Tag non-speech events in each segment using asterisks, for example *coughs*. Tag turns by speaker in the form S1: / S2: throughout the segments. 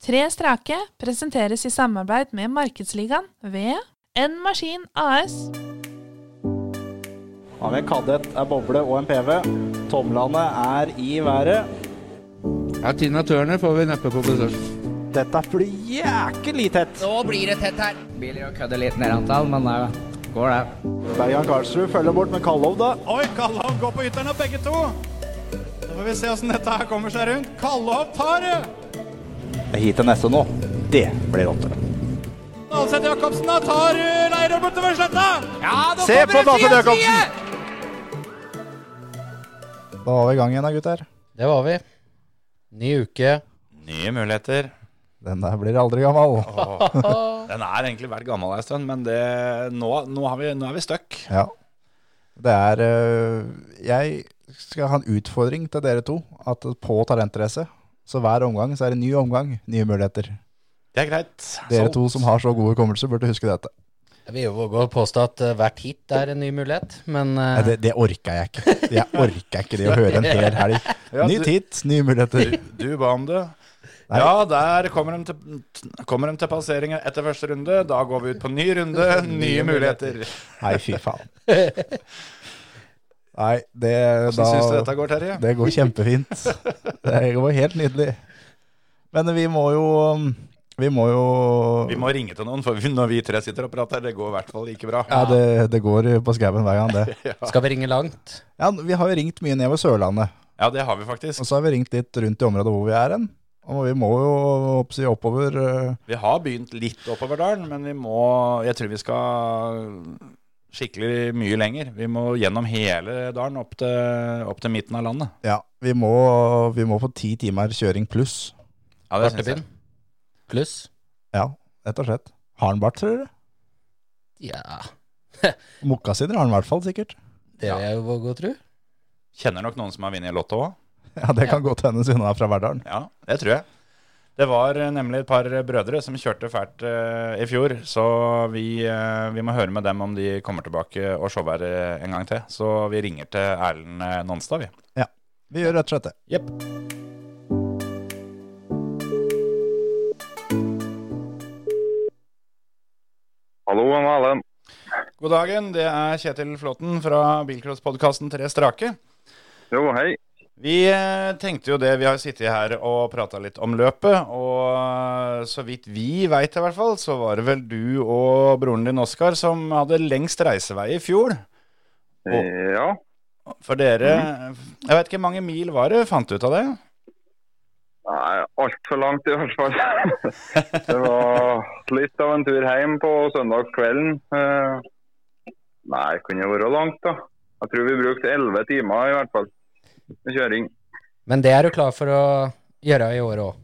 S1: Tre strake presenteres i samarbeid med Markedsligaen ved N Maskin AS.
S2: Har vi en kadett, en boble og en PV. Tomlene er i været.
S3: Ja, Tina Turner får vi neppe på besøk.
S2: Dette blir jækelig tett.
S4: Nå blir det tett her. Billig å kødde litt ned antall, men det går det.
S2: Bergan Karlsrud følger bort med Kallov, da.
S5: Oi, Kallov går på ytteren av begge to. Da får vi se åssen dette her kommer seg rundt. Kallov tar det!
S2: Hit til neste nå. Det blir åtte.
S5: Dalseth Jacobsen da tar eh, Leirøy bortover sletta. Ja, da
S2: Se på
S5: kommer det
S2: Dalseth
S5: frie
S2: Jacobsen.
S5: side!
S2: Da var vi i gang igjen, da, gutter.
S6: Det var vi. Ny uke.
S7: Nye muligheter.
S2: Den der blir aldri gammel.
S7: Den er egentlig vært gammel en stund, men det, nå, nå, har vi, nå er vi stuck.
S2: Ja. Det er øh, Jeg skal ha en utfordring til dere to. At på talentrace, så hver omgang så er det ny omgang, nye muligheter.
S7: Det er greit.
S2: Dere
S7: Solgt.
S2: to som har så god hukommelse, burde huske dette.
S6: Jeg vil jo våge å påstå at eh, hvert hit er en ny mulighet, men eh,
S2: Nei, det, det orka jeg ikke. Jeg orka ikke det å høre en hel
S7: *laughs*
S2: helg. Nytt hit, nye muligheter.
S7: Du ba om det.
S2: Nei.
S7: Ja, der kommer de, til, kommer de til passeringen etter første runde. Da går vi ut på ny runde, nye muligheter.
S2: Nei, fy
S7: *laughs*
S2: faen. Nei, det da,
S7: Hvordan syns du dette går, Terje?
S2: Det går kjempefint. Det går helt nydelig. Men vi må jo Vi må jo
S7: Vi må ringe til noen, for vi- når vi tre sitter og prater, det går i hvert fall ikke bra.
S2: Ja, det, det går på skauen hver gang, det.
S6: skal vi ringe langt?
S2: Ja, vi har jo ringt mye nedover Sørlandet.
S7: Ja, det har vi faktisk.
S2: Og så har vi ringt litt rundt i området hvor vi er hen. Og vi må jo opp- si oppover eh,
S7: Vi har begynt litt oppover dalen, men vi må Jeg tror vi skal skikkelig mye lenger. Vi må gjennom hele dalen opp til, opp til midten av landet.
S2: Ja, vi må, vi må få ti timer kjøring pluss.
S7: Ja, det syns jeg.
S6: Bartebyen? Pluss?
S2: Ja, rett og slett. Har han bart, tror dere?
S6: Ja,
S2: Mokkasiner har han i hvert fall, sikkert. *laughs*
S6: det vil jeg jo våge å tro.
S7: Kjenner nok noen som har vunnet i Lotto òg.
S2: Ja, det kan godt hende siden han er fra Verdalen.
S7: Ja, det tror jeg. Det var eh, nemlig et par eh, brødre som kjørte fælt eh, i fjor, så vi, eh, vi må høre med dem om de kommer tilbake og show her eh, en gang til. Så vi ringer til Erlend eh, Nonstad, vi.
S2: Vi gjør rett og slett det.
S7: Jepp.
S8: Hallo, han er Erlend.
S7: God dagen, det er Kjetil Flåten fra Bilcross-podkasten Tre strake.
S8: Jo, hei.
S7: Vi eh, tenkte jo det, vi har sittet her og prata litt om løpet, og eh, så vidt vi veit i hvert fall, så var det vel du og broren din Oskar som hadde lengst reisevei i fjor.
S8: Eh, mm. Ja,
S7: For dere Jeg vet ikke hvor mange mil var det? Fant du ut av det?
S8: Nei, altfor langt i hvert fall. *laughs* det var litt av en tur hjem på søndagskvelden. Eh, Nei, det kunne vært langt, da. Jeg tror vi brukte elleve timer i hvert fall med kjøring.
S6: Men det er du klar for å gjøre i år òg.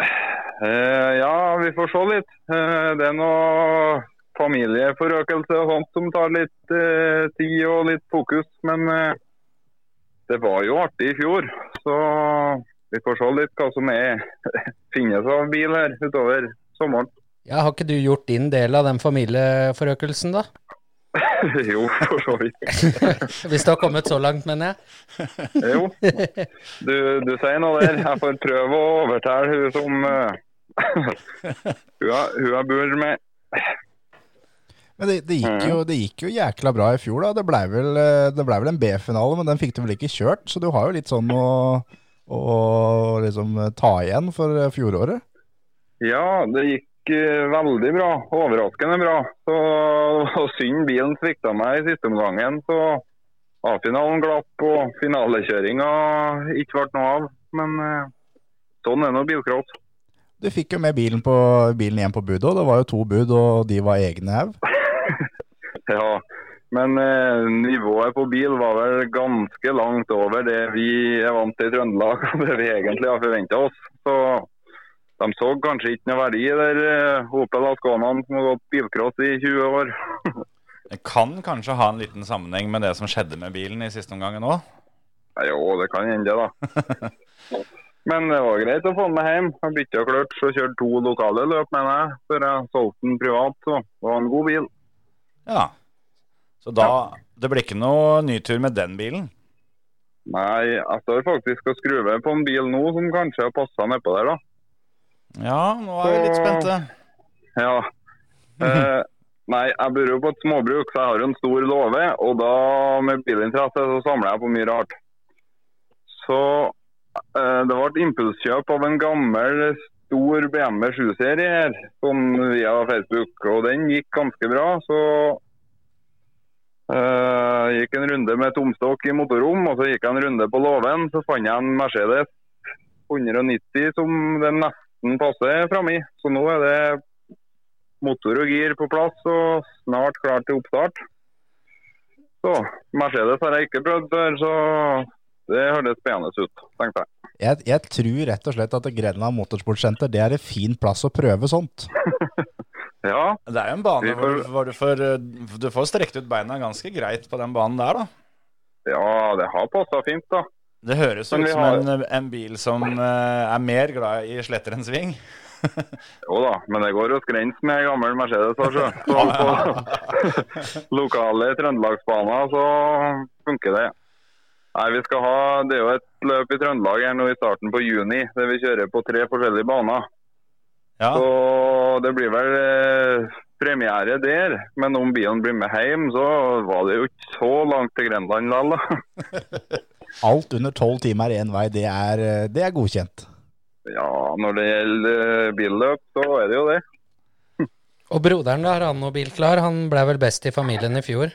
S8: Eh, Ja, vi får se litt. Eh, Det er noe familieforøkelse og sånt som tar litt eh, tid og litt fokus, men eh, det var jo artig i fjor. Så vi får se litt hva som er *laughs* finnes av bil her utover sommeren. *laughs*
S6: Ja, har ikke du gjort din del av den familieforøkelsen, da?
S8: jo, for så vidt.
S6: Hvis du har kommet så langt, mener jeg.
S8: Jo. Du, du sier noe der. Jeg får prøve å overtale hun som eh, *laughs* hun, jeg- hun jeg bor med.
S2: Men det, det, gikk jo, det gikk jo jækla bra i fjor, da. Det blei vel, eh, det ble vel en B-finale, men den fikk du vel ikke kjørt, så du har jo litt sånn å, å liksom ta igjen for eh, fjoråret.
S8: Ja, det gikk eh, veldig bra. Overraskende bra. Så *laughs* og synd bilen svikta meg i siste omgangen. Så A-finalen glapp og finalekjøringa ikke ble noe av. Men eh, sånn er nå bilcross. *laughs*
S2: Du fikk jo med bilen, på, bilen hjem på bud òg. Det var jo to bud, og de var egne haug.
S8: Ja, men eh, nivået på bil var vel ganske langt over det vi er vant til i Trøndelag *laughs* og det vi egentlig har forventa oss. Så de så kanskje ikke noe verdi i der eh, Opel Asconaen som har gått bilcross i 20 år.
S7: Det kan kanskje ha en liten sammenheng med det som skjedde med bilen i siste omgang òg.
S8: Ja, jo, det kan hende, da. Men det var greit å få den med hjem. Jeg bytta kløtsj og kjørte to lokale løp med meg før jeg solgte den privat. Så det var en god bil.
S7: Ja. Så da Det blir ikke noe ny tur med den bilen.
S8: Nei, jeg står faktisk og skrur ved på en bil nå som kanskje har passa nedpå der, da.
S7: Ja, nå er vi litt spente.
S8: Ja. Eh, nei, jeg bor jo på et småbruk, så jeg har jo en stor låve. Og da, med bilinteresse, så samler jeg på mye rart. Så eh, det ble et impulskjøp av en gammel, stor BMW 7-serie her, sånn via Facebook. Og den gikk ganske bra, så eh, gikk en runde med tomstokk i motorrom, og så gikk jeg en runde på låven. Så fant jeg en Mercedes 190 som det nesten passer framme i. Så nå er det motor og gir på plass og snart klar til oppstart. Så Mercedes har jeg ikke prøvd før, så det høres spennende ut, tenkte jeg.
S2: Jeg, jeg tror rett og slett at Grenland Motorsportsenter det er en fin plass å prøve sånt.
S8: Ja,
S7: Det er jo en bane
S8: Vi får-
S7: hvor, du- hvor du, får, eh, du får strekt ut beina ganske greit på den banen der, da.
S8: ja det har passa fint, da.
S7: Det høres jo
S8: Men
S7: ut
S8: vi
S7: som en, en bil som eh, er mer glad i sletter enn
S8: *laughs*
S7: sving.
S8: Jo da, men det går jo skrens med gammel Mercedes. Altså. Så på lokale trøndelagsbaner så funker det. Nei, vi skal ha, Det er jo et løp i Trøndelag her nå i starten på juni, der vi kjører på tre forskjellige baner.
S7: Ja.
S8: Så det blir vel eh, premiere der. Men om bilen blir med hjem, så var det jo ikke så langt til Grenland likevel, *laughs* da.
S2: Alt under tolv timer én vei, det er, eh, det er godkjent.
S8: Ja, når det gjelder eh, billøp, så er det jo det.
S6: *laughs* Og broderen, da, har han noe bil klar? Han ble vel best i familien i fjor?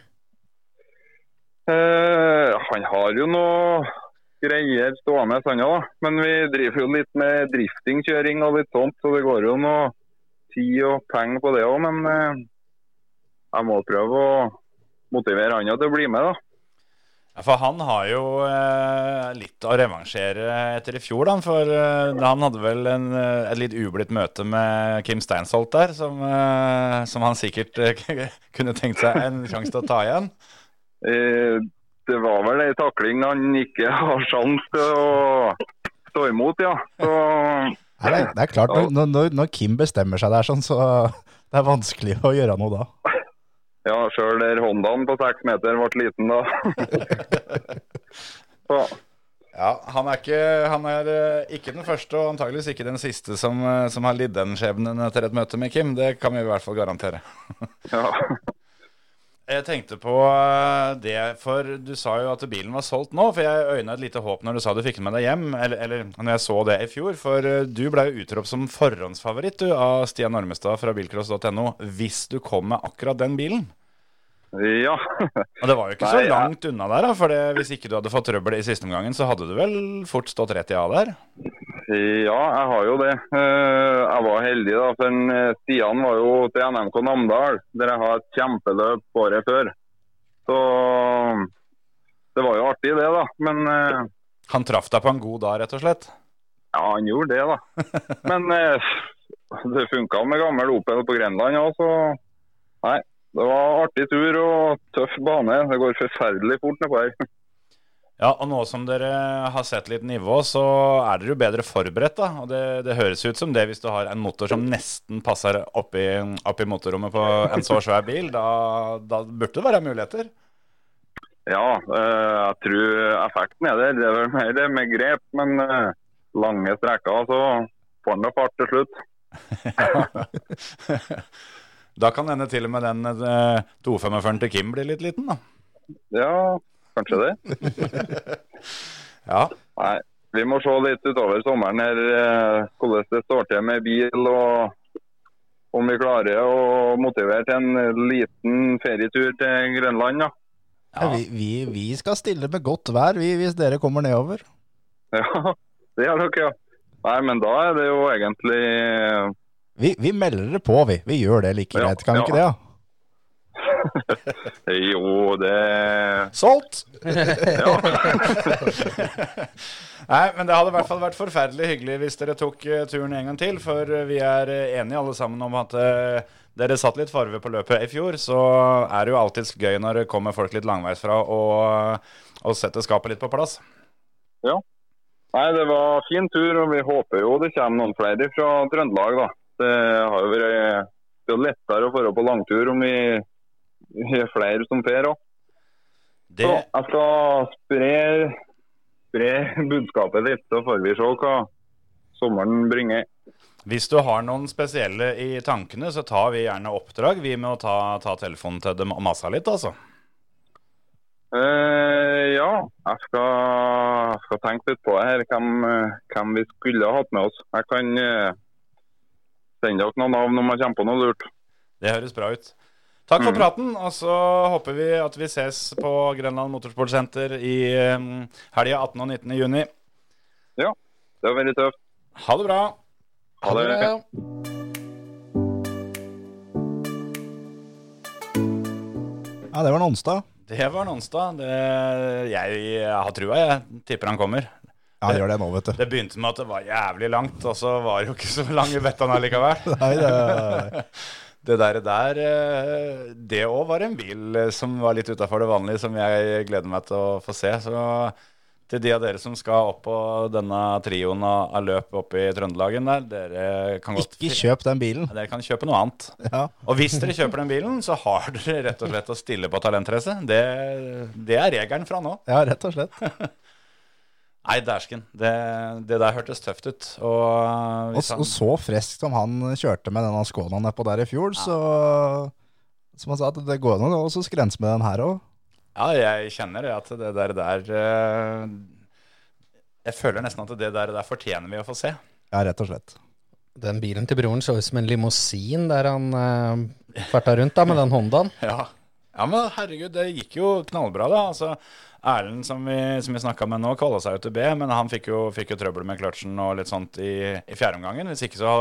S8: Eh, han har jo noe greier stående, han òg. Men vi driver jo litt med driftingkjøring og litt sånt, så det går jo noe tid og penger på det òg. Men eh, jeg må prøve å motivere han til å bli med, da.
S7: Ja, For han har jo eh, litt å revansjere etter i fjor, da. For eh, han hadde vel en, eh, et litt ublidt møte med Kim Steinsholt der, som, eh, som han sikkert eh, *laughs* kunne tenkt seg en sjanse til å ta igjen.
S8: Eh, det var vel ei takling han ikke *laughs* har sjans til å stå imot, ja. Så,
S2: Nei, det, er- det er klart, når- når, når, når Kim bestemmer seg der sånn, så *laughs* det er vanskelig å gjøre noe da.
S8: ja, sjøl der Hondaen på seks meter ble liten da. Så,
S7: Ja, Han er, ikke, han er eh, ikke den første, og antageligvis ikke den siste, som, eh, som har lidd den skjebnen etter et møte med Kim. Det kan vi i hvert fall garantere.
S8: ja.
S7: Jeg tenkte på eh, det, for du sa jo at bilen var solgt nå. For jeg øyna et lite håp når du sa du fikk den med deg hjem, eller, eller når jeg så det i fjor. For eh, du ble jo utropt som forhåndsfavoritt du, av Stian Ormestad fra bilcross.no hvis du kom med akkurat den bilen.
S8: ja.
S7: Og det var jo ikke
S8: Nei,
S7: så
S8: jeg-
S7: langt unna der, da. For det, hvis ikke du hadde fått trøbbel i siste omgangen, så hadde du vel fort stått rett i A der.
S8: Ja, jeg har jo det. Eh, Jeg var heldig, da. For en, eh, Stian var jo til NMK Namdal, der jeg har et kjempeløp året før. Så det var jo artig, det, da. Men eh,
S7: Han traff deg på en god dag, rett og slett.
S8: Ja, han gjorde det, da. Men eh, det funka med gammel Opel på Grenland òg, så Nei, det var artig tur og tøff bane. Det går forferdelig fort nedpå her.
S7: Ja, og nå som dere har sett litt nivå, så er dere jo bedre forberedt, da. Og det, det høres ut som det hvis du har en motor som nesten passer oppi, oppi motorrommet på en så svær bil. Da, da burde det være muligheter.
S8: *laughs*
S7: *laughs*
S8: Ja, eh, jeg tror effekten er der. Det er vel mer det med grep, men eh, lange strekker, så får han da fart til slutt.
S7: Da kan hende til og med den eh, 245 til Kim blir litt liten, da.
S8: Ja, kanskje det.
S7: Ja.
S8: Nei, vi må se litt utover sommeren her eh, hvordan det står til med bil og om vi klarer å motivere til en liten ferietur til Grønland. Ja. *laughs*
S2: Ja, vi, vi, vi skal stille med godt vær vi, hvis dere kommer nedover.
S8: Ja, det gjør dere, ja. Nei, men da er det jo egentlig
S2: Vi, vi melder dere på, vi. Vi gjør det like
S8: Ja,
S2: greit, kan vi
S8: ja.
S2: ikke det? Ja?
S8: eh, Jo, det
S7: Solgt! Nei, men det hadde i hvert fall vært forferdelig hyggelig hvis dere tok eh, turen en gang til, for eh, vi er eh, enige alle sammen om at eh, dere satt litt farve på løpet i fjor, så er det jo alltids gøy når det kommer folk litt langveisfra og, og setter skapet litt på plass.
S8: Nei, det var fin tur, og vi håper jo det kommer noen flere fra Trøndelag, da. Det har jo vært eh, det er jo lettere å dra på langtur om vi vi er flere som drar òg.
S7: Det,
S8: Så jeg skal spre, spre budskapet litt, så får vi se hva sommeren bringer.
S7: Hvis du har noen spesielle i tankene, så tar vi gjerne oppdrag. Vi med å ta, ta telefonen til dem og mase litt, altså.
S8: Eh, ja, jeg skal, skal tenke litt på det her, hvem, eh, hvem vi skulle ha hatt med oss. Jeg kan eh, sende dere noen navn om jeg kommer på noe lurt.
S7: Det høres bra ut. Takk for praten, og så håper vi at vi ses på Grenland Motorsportsenter i um, helga 18. og 19. juni.
S8: Det var veldig tøft.
S7: Ha det bra!
S8: Ha det.
S2: Ja, det var en onsdag.
S7: Det var en onsdag. Det, jeg, har trua, jeg. Tipper han kommer.
S2: Ja, gjør det nå, vet du.
S7: Det begynte med at det var jævlig langt, og så var det jo ikke så lang i vettene allikevel.
S2: Nei, det er
S7: Det der, der eh, Det òg var en bil eh, som var litt utafor det vanlige, som jeg gleder meg til å få se. Så til de av dere som skal opp på denne trioen av av løp oppe i Trøndelagen der, dere kan godt
S2: Ikke kjøp den bilen.
S7: Dere kan kjøpe noe annet.
S2: *laughs* Ja.
S7: Og hvis dere kjøper den bilen, så har dere rett og slett å stille på talentrace. Det, det er regelen fra nå.
S2: ja, rett og slett.
S7: Nei, dæsken. Det, det der hørtes tøft ut. Og
S2: Og,
S7: hvis
S2: s-
S7: han,
S2: og så frisk som han kjørte med denne Skånaen nedpå der i fjor, så Som han sa, at det går an å også skrense med den her òg.
S7: ja, jeg kjenner det at det der, der eh, Jeg føler nesten at det der, der fortjener vi å få se.
S2: Ja, rett og slett.
S6: Den bilen til broren så ut som en limousin der han eh, farta rundt da, med den Hondaen.
S7: Ja. ja, men herregud, det gikk jo knallbra, da. Altså, Erlend som vi, som vi snakka med nå, kvala seg jo til B, men han fikk jo, fikk jo trøbbel med kløtsjen og litt sånt i, i fjerdeomgangen. Hvis ikke så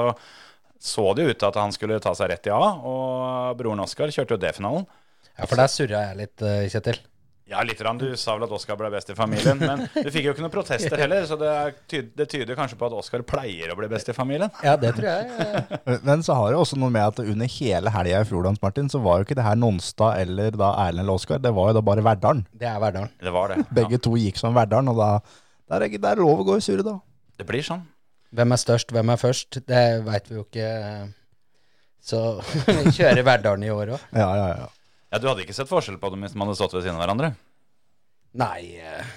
S7: så det jo ut til at han skulle ta seg rett i A, og broren Oskar kjørte jo D-finalen.
S6: Ja, for der surra jeg litt, eh, Kjetil.
S7: Ja, litt. Rann. Du sa vel at Oskar ble best i familien, men du fikk jo ikke
S6: *laughs*
S7: noen protester heller, så det, er tyd, det tyder kanskje på at Oskar pleier å bli best i familien.
S6: Ja, det tror jeg. eh.
S2: Men så har det også noe med at under hele helga i fjor, Hans Martin, så var jo ikke det her Nonstad eller da Erlend eller Oskar, det var jo da bare Verdalen.
S6: *laughs* Det er Verdalen.
S7: Det var det. Ja,
S2: Begge to gikk som Verdalen, og da der er, ikke- der er lov å gå i surre, da.
S7: det blir sånn.
S6: Hvem er størst, hvem er først? Det veit vi jo ikke. eh, Så *laughs* vi kjører Verdalen i år òg.
S2: Ja, ja, ja.
S7: Ja, Du hadde ikke sett forskjell på dem hvis de hadde stått ved siden av hverandre?
S6: Nei, eh,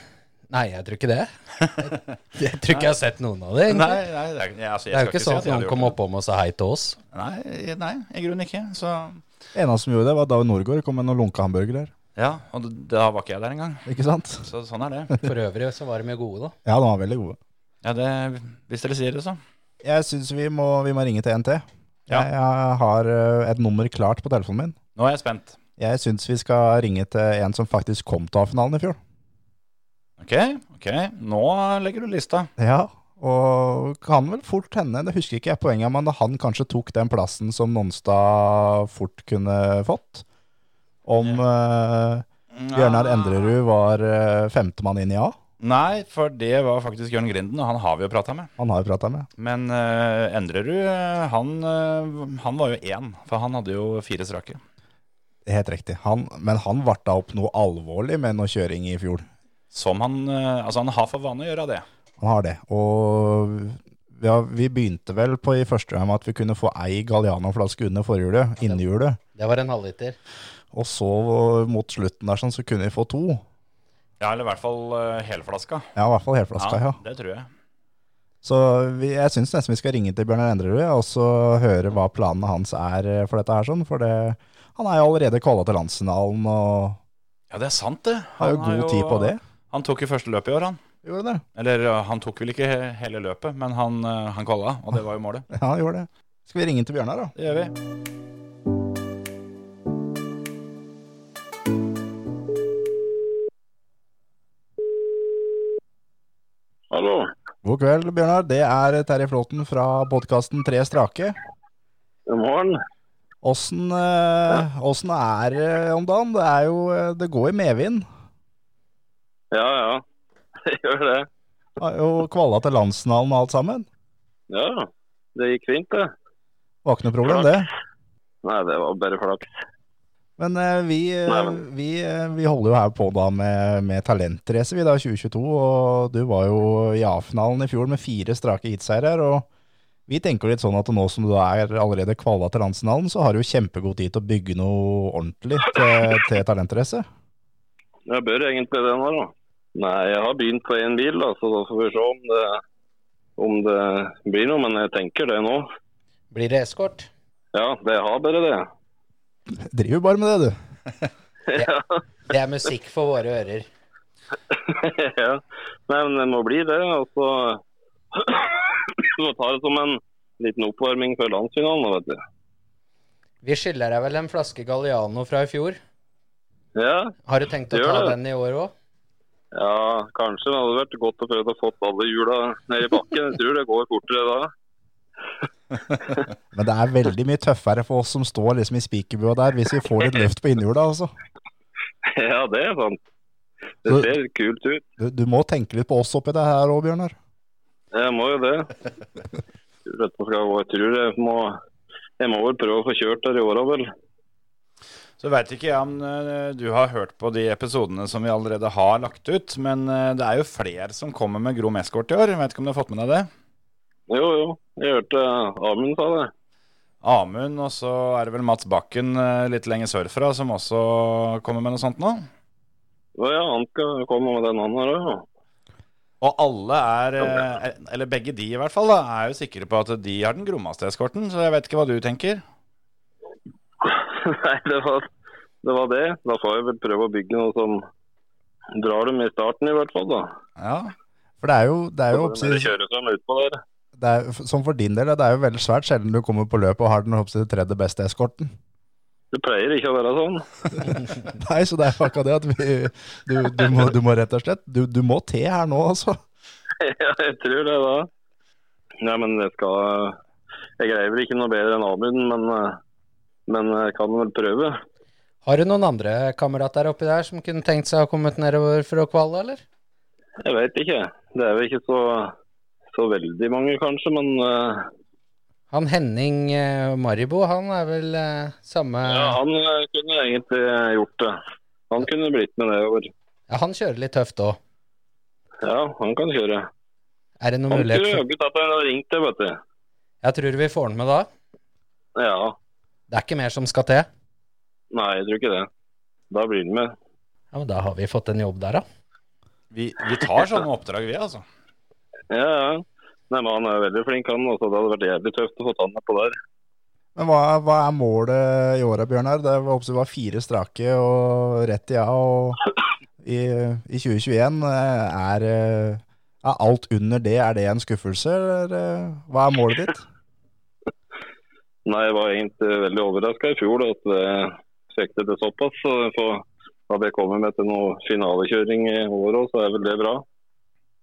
S6: nei, jeg tror ikke det. *laughs* Jeg, jeg tror ikke jeg har sett noen av det.
S7: Nei,
S6: egentlig.
S7: nei, det er, ja, altså, jeg
S6: Det er
S7: skal
S6: jo ikke
S7: si
S6: sånn
S7: at
S6: at
S7: jeg hadde
S6: noen
S7: gjort
S6: kom
S7: det.
S6: oppom og sa hei til oss.
S7: Nei, nei, i grunnen ikke. Så
S2: Eneste som gjorde det, var David Norgård kom med noen lunkehamburgere her.
S7: ja, og d- da var ikke jeg der engang.
S2: Ikke sant?
S7: Så sånn
S6: *laughs*
S7: er det.
S6: For øvrig så var de jo gode, da.
S2: Ja, de var veldig gode.
S7: Ja, det, Hvis dere sier det, så.
S2: Jeg syns vi, må- vi må ringe til NT.
S7: Ja.
S2: Jeg, jeg har eh, et nummer klart på telefonen min.
S7: Nå er jeg spent.
S2: Jeg syns vi skal ringe til en som faktisk kom til A-finalen i fjor.
S7: Ok, ok. Nå legger du lista.
S2: Ja, og kan vel fort hende, det husker ikke jeg poenget, men han kanskje tok den plassen som Nonstad fort kunne fått. Om eh, Bjørnar
S7: Ah.
S2: Endrerud var eh, femtemann inn i A,
S7: Nei, for det var faktisk Jørn Grinden, og han har vi jo prata med.
S2: han har jeg prata med.
S7: Men eh, Endrerud, eh, han, eh, han var jo én, for han hadde jo fire strake.
S2: Helt riktig. Han, men han varta opp noe alvorlig med noe kjøring i fjor.
S7: Som han eh, Altså, han har for vane å gjøre det.
S2: Han har det. Og ja, vi begynte vel på i første gang med at vi kunne få ei Galliano-flaske under forhjulet, innehjulet.
S6: Det var en halvliter.
S2: Og så mot slutten der sånn, så kunne vi få to.
S7: Ja, eller i hvert fall eh, helflaska.
S2: Ja, i hvert fall helflaska, ja.
S7: Det tror jeg.
S2: Så vi, jeg syns nesten vi skal ringe til Bjørnar Endrerud og så høre hva planene hans er eh, for dette her. sånn, For det, han er jo allerede kvala til landsfinalen og
S7: Ja, det er sant, det.
S2: har jo
S7: Han
S2: god
S7: er jo-
S2: tid på det.
S7: Han tok jo første løpet i år, han.
S2: Gjorde han det?
S7: Eller ja, han tok vel ikke he- hele løpet, men han, eh, han kvala, og det var jo målet.
S2: Ja, han gjorde det. Skal vi ringe til Bjørnar, da?
S7: Det gjør vi.
S8: Hallo.
S2: God kveld, Bjørnar. Det er Terje Flåten fra podkasten Tre strake.
S8: God morgen.
S2: Åssen eh, åssen er det om dagen? Det er jo eh, Det går i medvind.
S8: Ja, ja. *laughs* Gjør det.
S2: Har jo kvala til landsfinalen og alt sammen.
S8: Ja, det gikk fint, det.
S2: Var ikke noe problem, det.
S8: Nei, det var bare flaks.
S2: Men eh, vi, eh,
S8: Nei, men-
S2: vi, eh, vi holder jo her på da med, med talentrace vi da, 2022, og du var jo i A-finalen i fjor med fire strake heatseier, og vi tenker jo litt sånn at nå som du er allerede kvala til landsfinalen, så har du jo kjempegod tid til å bygge noe ordentlig til, til talentrace.
S8: Jeg bør egentlig det nå, da. Nei, jeg har begynt på én bil, da, så da får vi se om det om det blir noe, men jeg tenker det nå.
S6: Blir det eskort?
S8: Ja, det har bare det. *laughs*
S2: Driver bare med det, du.
S6: Det er musikk for våre ører.
S8: ja. Nei, men det må bli det. Og så *coughs* må ta det som en liten oppvarming før landsfinalen, da, vet du.
S6: Vi skylder deg vel en flaske Galliano fra i fjor.
S8: Ja,
S6: Har du tenkt å
S8: Gjør
S6: ta
S8: det.
S6: den i år òg?
S8: ja kanskje. Det hadde vært godt å prøve å få alle hjula ned i bakken. Jeg tror det går fortere da. *laughs*
S2: Men det er veldig mye tøffere for oss som står liksom i spikerbua der, hvis vi får litt løft på innhjula, altså.
S8: Ja, det er sant. Det
S2: Så-
S8: ser kult ut.
S2: Du, du må tenke litt på oss oppi det her òg, Bjørnar.
S8: Jeg må jo det. Tror dette skal gå. Jeg tror jeg må, jeg må vel prøve å få kjørt der i åra, vel.
S7: Så veit ikke jeg om eh, du har hørt på de episodene som vi allerede har lagt ut, men eh, det er jo flere som kommer med Grom Escort i år. Veit ikke om du har fått med deg det?
S8: Jo, jo. Jeg hørte Amund sa det.
S7: Amund, og så er det vel Mats Bakken eh, litt lenger sørfra som også kommer med noe sånt nå.
S8: Å ja, han skal komme med den han her òg, ja. *laughs*
S7: Og alle er, eh, er- eller begge de i hvert fall, da, er jo sikre på at de har den grommeste eskorten, så jeg vet ikke hva du tenker.
S8: Nei, det var, det var det. Da får jeg vel prøve å bygge noe som drar dem i starten, i hvert fall. da.
S7: Ja,
S2: For det er jo, det er jo
S8: Så når de
S2: oppsi-
S8: kjører seg utpå der.
S2: det er, Som for din del, det er jo veldig svært sjelden du kommer på løpet og har den oppsi- tredje beste eskorten. *laughs*
S8: Det pleier ikke å være sånn. *laughs*
S2: Nei, så det er jo akkurat det at vi, du, du, må, du må rett og slett Du, du må te her nå, altså.
S8: Ja, jeg tror det, da. Nei, men det skal Jeg greier vel ikke noe bedre enn Amund, men, eh, men jeg kan vel prøve.
S6: Har du noen andre kamerater oppi der som kunne tenkt seg å ha kommet nedover for å kvalle, eller?
S8: Jeg veit ikke. Det er vel ikke så, så veldig mange, kanskje, men eh,
S6: Han Henning eh, Maribo, han er vel eh, samme
S8: ja,
S6: ja.
S8: han eh, kunne egentlig gjort det. Han kunne blitt med nedover.
S6: Han kjører litt tøft òg.
S8: Ja, han kan kjøre.
S6: Er det noen
S8: Han
S6: mulighet
S8: skulle
S6: for
S8: jaggu tatt en og ringt deg, vet du.
S6: Jeg tror vi får han med da.
S8: Ja.
S6: Det er ikke mer som skal til.
S8: Nei, jeg tror ikke det. Da blir han med.
S6: Ja, men Da har vi fått en jobb der, da.
S7: vi, vi tar sånne oppdrag, vi, altså.
S8: Ja, ja. Nei, men Han er veldig flink, han. Også. Det hadde vært jævlig tøft å få han med på der.
S2: Men hva, hva er målet i året, Bjørnar? Det var, oppsi- var fire strake og rett i A. Og i, i 2021 er, eh, er alt under det, er det en skuffelse? Eller eh, hva er målet ditt?
S8: Nei, Jeg var egentlig veldig overraska i fjor da, at jeg fikk det til såpass. Så jeg får- hadde jeg kommet med til noe finalekjøring i år òg, så er vel det bra.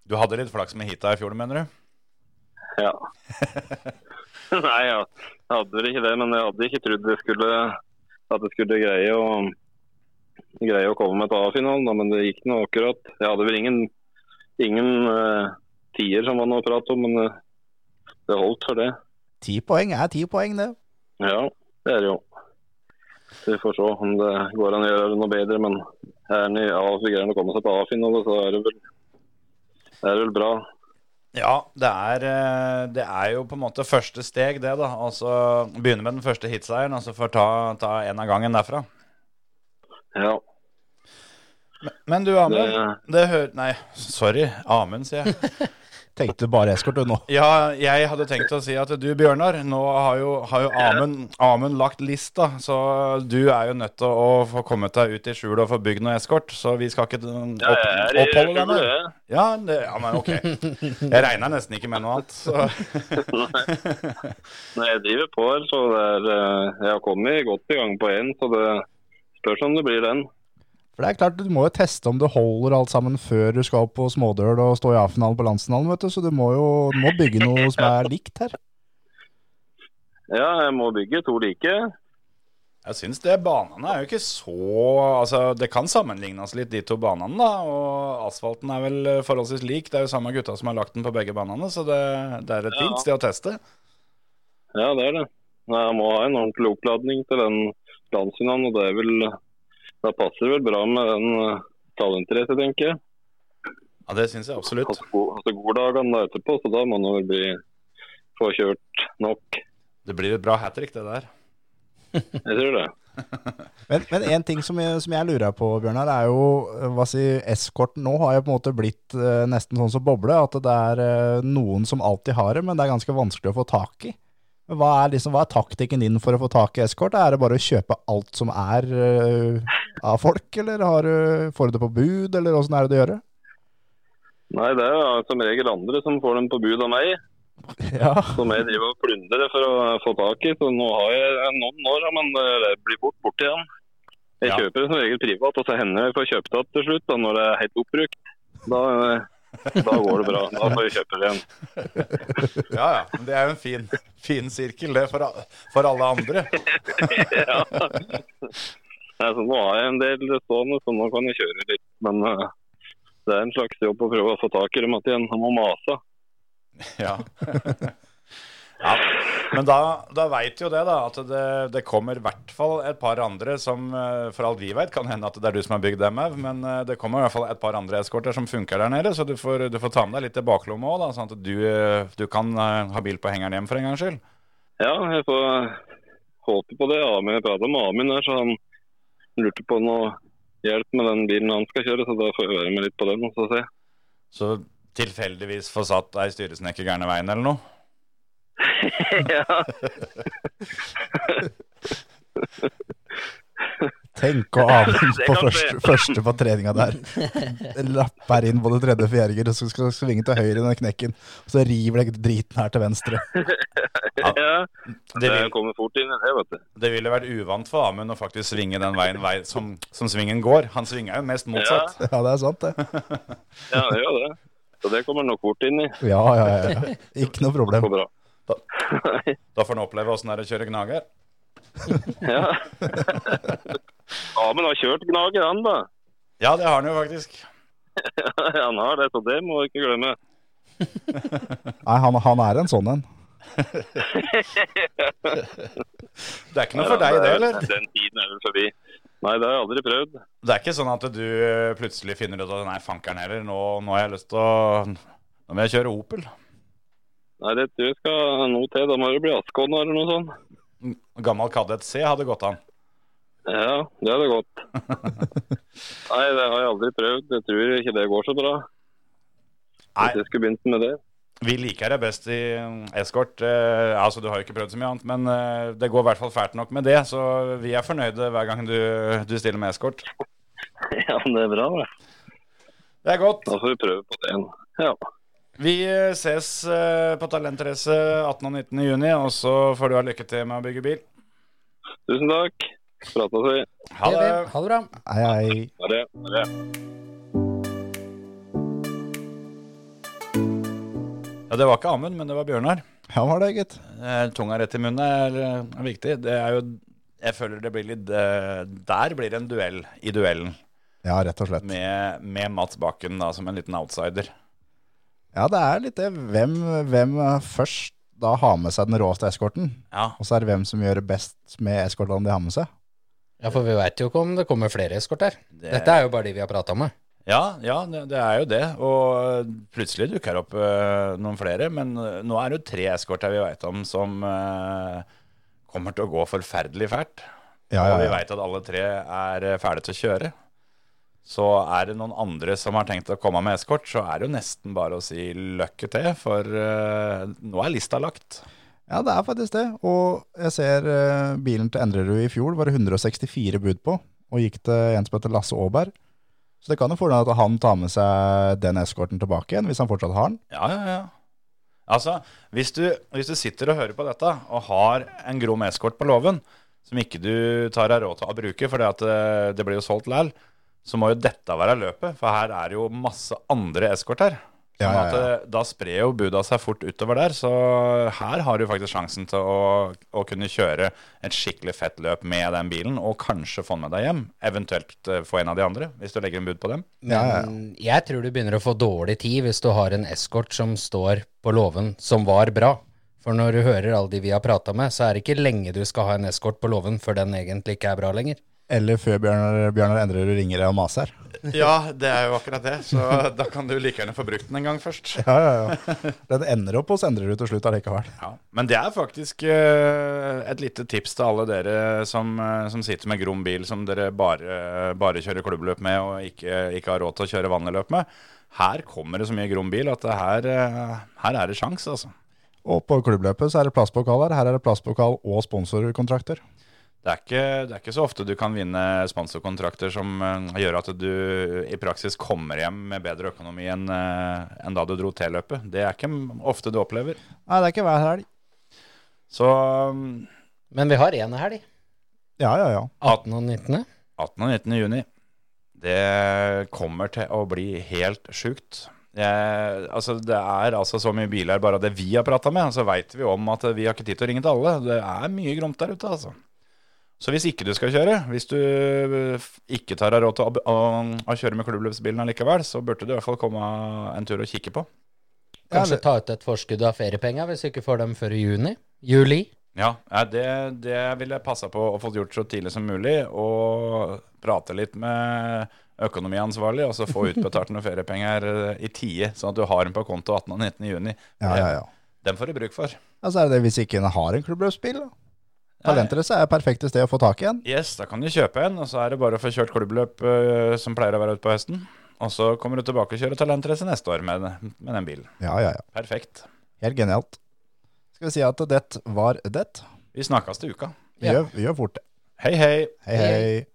S7: Du hadde litt flaks med hita i fjor, mener du?
S8: Ja. *laughs* Nei, ja. jeg hadde vel ikke det, men jeg hadde ikke trodd jeg skulle, at jeg skulle greie å, greie å komme meg til A-finalen, da, men det gikk nå akkurat. Jeg hadde vel ingen, ingen eh, tier som var noe prat om, men eh, det holdt for det.
S2: Ti poeng er ti poeng, det.
S8: Ja, det er det jo. Så vi får se om det går an å gjøre noe bedre, men er han i A, så greier han å komme seg til A-finale, så er det vel, er det vel bra.
S7: Ja, det er, eh, det er jo på en måte første steg, det, da. Altså begynne med den første hitseieren, og så får ta, ta en av gangen derfra.
S8: Ja.
S7: Men du, Amund.
S8: Det-
S7: Det hører Nei, sorry. Amund, sier jeg.
S2: Tenkte bare eskort du nå.
S7: Ja, jeg hadde tenkt å si at du, Bjørnar, nå har jo, har jo Amund, Amund lagt lista, så du er jo nødt til å få kommet deg ut i skjul og få bygd noe eskort, så vi skal ikke um,
S8: Ja,
S7: opp,
S8: jeg er i
S7: oppholde deg
S8: skjul,
S7: mer.
S8: jeg.
S7: Ja, det, ja, men ok. Jeg regner nesten ikke med noe annet. Så.
S8: Nei, jeg driver på her, så det er, eh, jeg har kommet godt i gang på én, så det spørs om det blir den.
S2: For det er klart, du må jo teste om det holder alt sammen før du skal opp på smådøl og stå i A-finalen på landsfinalen, vet du. Så du må jo du må bygge noe som er likt her.
S8: Ja, jeg må bygge to like.
S7: Jeg syns det. Banene er jo ikke så Altså, det kan sammenlignes litt, de to banene, da. Og asfalten er vel eh, forholdsvis lik. Det er jo samme gutta som har lagt den på begge banene, så det, det er et fint sted å teste.
S8: Ja, det er det. Nei, jeg må ha en ordentlig oppladning til den landsfinalen, og det er vel Da passer det vel bra med den eh, talentrace, tenker jeg.
S7: Ja, det syns jeg absolutt.
S8: Og så go- og så går dagene da etterpå, så da må man vel bli få kjørt nok.
S7: Det blir et bra hat trick, det der.
S8: Jeg tror det.
S2: Men, men en ting som jeg, som jeg lurer på, Bjørnar, er jo eh, hva si, eskorten nå har jo på en måte blitt eh, nesten sånn som boble. At det er eh, noen som alltid har det, men det er ganske vanskelig å få tak i. Men Hva er, liksom, hva er taktikken din for å få tak i eskort? Er det bare å kjøpe alt som er eh, av folk, eller har du, får du det på bud, eller åssen er det du gjør det?
S8: Nei, det er jo som regel andre som får dem på bud av meg.
S2: *laughs* Ja.
S8: Som jeg driver og plundrer for å få tak i. Så nå har jeg noen år, men eh, det blir fort borte igjen. Jeg
S7: Ja.
S8: kjøper det som regel privat, og så hender det jeg får kjøpt det til slutt da, når det er helt oppbrukt. Da, eh, da går det bra. Da får jeg kjøpe det igjen. *laughs*
S7: Ja, ja. Men det er jo en fin, fin sirkel, det, for, al- for alle andre.
S8: Ja. Nei, så nå har jeg en del stående, så nå kan jeg kjøre litt. Men eh, det er en slags jobb å prøve å få tak i dem igjen. Han må mase.
S7: Ja. *laughs* ja. Men da, da veit jo det, da, at det, det kommer i hvert fall et par andre som eh, For alt vi veit, kan hende at det er du som har bygd dem òg, men eh, det kommer i hvert fall et par andre eskorter som funker der nede, så du får, du får ta med deg litt i baklomma òg, sånn at du, eh, du kan eh, ha bil på hengeren hjem for en gangs skyld.
S8: Ja, jeg får håpe på det. Amund, jeg pratet med Amund her, så han lurte på noe hjelp med den bilen han skal kjøre, så da får jeg være med litt på den. og Så se.
S7: Så tilfeldigvis få satt ei styresnekker gærne veien eller noe.
S8: *laughs* ja.
S2: Tenk å avgjøre
S8: Det
S2: på
S8: kan
S2: første, første på treninga
S8: *laughs*
S2: der. Lapper inn både tredje og fjerde gir, og så skal du svinge til høyre i den knekken. Og så river det driten her til venstre.
S8: ja.
S7: *laughs* Det
S8: Det
S7: vil,
S8: kommer fort inn i det, vet du.
S7: det ville vært uvant for Amund å faktisk svinge den veien vei, som, som svingen går. Han svinger jo mest motsatt.
S2: *laughs* Ja, det er sant, det.
S8: Ja, det gjør det. Så det kommer han nok fort inn i.
S2: Ja, ja, ja. ja. *laughs* Ikke noe
S8: Det
S2: problem.
S8: går bra.
S7: Da får han oppleve åssen det er å kjøre gnager.
S8: Ja. *laughs* Amund har kjørt gnager, han da. *laughs*
S7: Ja, det har han jo faktisk.
S8: han har det, så det må du ikke glemme.
S2: Nei, han, han er en sånn en.
S7: Det er ikke noe for deg, det, eller?
S8: Den tiden er vel forbi. Nei, det har jeg aldri prøvd.
S7: Det er ikke sånn at du plutselig finner ut at nei, fankeren heller, nå, nå har jeg lyst til å Nå må jeg kjøre Opel.
S8: Nei, det tror jeg skal noe til. Da må det bli Askån eller noe sånt.
S7: Gammel Kadett C hadde gått an.
S8: Ja, det hadde gått. Nei, det har jeg aldri prøvd. Jeg tror ikke det går så bra.
S7: Nei.
S8: Hvis jeg skulle begynt med det. *laughs*
S7: Vi liker deg best i eskort. Eh, altså, du har jo ikke prøvd så mye annet, men eh, det går i hvert fall fælt nok med det, så vi er fornøyde hver gang du, du stiller med eskort.
S8: Ja, men det er bra, det.
S7: Det er godt.
S8: Da får vi prøve på det igjen. Ja.
S7: Vi eh, ses eh, på Talentrace 18. og 19. juni, og så får du ha lykke til med å bygge bil.
S8: Tusen takk. Prata vi.
S7: Ha det.
S6: Ha det bra.
S2: Hei, hei.
S8: Ha det. Ha det.
S7: Ja, det var ikke Amund, men det var Bjørnar.
S2: Han var det, gitt.
S7: Eh, Tunga rett i munnen er, er viktig. Det er jo Jeg føler det blir litt eh, Der blir det en duell i duellen
S2: Ja, rett og slett.
S7: med, med Mats Bakken da, som en liten outsider.
S2: Ja, det er litt det. Hvem, hvem først da har med seg den råeste eskorten?
S7: Ja.
S2: Og så er det hvem som gjør det best med eskortene de har med seg.
S6: Ja, for vi veit jo ikke om det kommer flere eskorter.
S7: Det-
S6: Dette er jo bare de vi har prata med.
S7: Ja, ja det, det er jo det. Og eh, plutselig dukker det opp eh, noen flere. Men eh, nå er det jo tre eskorter vi veit om som eh, kommer til å gå forferdelig fælt.
S2: Ja,
S7: Og
S2: ja,
S7: vi
S2: ja.
S7: veit at alle tre er eh, ferdige til å kjøre. Så er det noen andre som har tenkt å komme med eskort, så er det jo nesten bare å si lykke til, for eh, nå er lista lagt.
S2: Ja, det er faktisk det. Og jeg ser eh, bilen til Endrerud i fjor var det 164 bud på, og gikk til en som heter Lasse Aaberg. Så det kan jo fordele at han tar med seg den eskorten tilbake igjen, hvis han fortsatt har den.
S7: Ja, ja, ja. Altså, hvis du, hvis du sitter og hører på dette og har en grom eskort på låven som ikke du tar deg råd til å bruke fordi at eh, det blir jo solgt læl, så må jo dette være løpet, for her er det jo masse andre eskort her. Sånn
S2: Ja, ja,
S7: at
S2: ja.
S7: eh, Da sprer jo buda seg fort utover der, så her har du faktisk sjansen til å, å kunne kjøre et skikkelig fett løp med den bilen, og kanskje få den med deg hjem. Eventuelt eh, få en av de andre, hvis du legger en bud på dem.
S6: Men
S2: Ja, ja,
S6: jeg tror du begynner å få dårlig tid hvis du har en eskort som står på låven som var bra. For når du hører alle de vi har prata med, så er det ikke lenge du skal ha en eskort på låven før den egentlig ikke er bra lenger.
S2: Eller før Bjørnar, Bjørnar Endrerud ringer og maser.
S7: Ja, det er jo akkurat det. Så da kan du like gjerne få brukt den en gang først.
S2: Ja, ja, ja. Den ender opp hos Endrerud til slutt allikevel.
S7: Ja. Men det er faktisk eh, et lite tips til alle dere som, eh, som sitter med grom bil som dere bare, bare kjører klubbløp med og ikke, ikke har råd til å kjøre vanlig løp med. Her kommer det så mye grom bil at det her, eh, her er det sjans, altså.
S2: Og på klubbløpet så er det plastpokaler. Her er det plastpokal og sponsorkontrakter.
S7: Det er, ikke, det er ikke så ofte du kan vinne sponsorkontrakter som eh, gjør at du i praksis kommer hjem med bedre økonomi enn eh, enn da du dro T-løpet. Det er ikke ofte du opplever.
S2: Nei, det er ikke hver helg.
S7: Så mm,
S6: Men vi har én helg.
S2: Ja, ja, ja.
S6: 18. og 19.
S7: 18. og 19. juni. Det kommer til å bli helt sjukt. Jeg, altså det er altså så mye biler bare av det vi har prata med. Så veit vi om at vi har ikke tid til å ringe til alle. Det er mye gromt der ute, altså. Så hvis ikke du skal kjøre, hvis du f- ikke tar deg råd til å, å, å kjøre med klubbløpsbilen allikevel, så burde du i hvert fall komme en tur og kikke på.
S6: Kanskje
S2: det-
S6: ta ut et forskudd av feriepenga hvis du ikke får dem før i juni. Juli.
S7: Ja, nei, det, det vil jeg passe på å få gjort så tidlig som mulig, og prate litt med økonomiansvarlig, og så få utbetalt noen feriepenger eh, i tide, sånn at du har den på konto 18. og 19. juni.
S2: ja, ja, ja.
S7: Den får du bruk for.
S2: Ja, så er det det hvis ikke en har en klubbløpsbil. da. Talentrace er perfekte sted å få tak i en.
S7: Eh, Yes, da kan du kjøpe en, og så er det bare å få kjørt klubbløp eh, som pleier å være ute på høsten. Og så kommer du tilbake og kjører talentrace neste år med, med den bilen.
S2: Ja, ja, ja.
S7: Perfekt.
S2: Helt genialt. Skal vi si at det var det?
S7: Vi snakkes til uka.
S2: Vi,
S6: Ja.
S2: gjør, vi gjør fort det.
S7: Hei, hei.
S2: Hei, hei.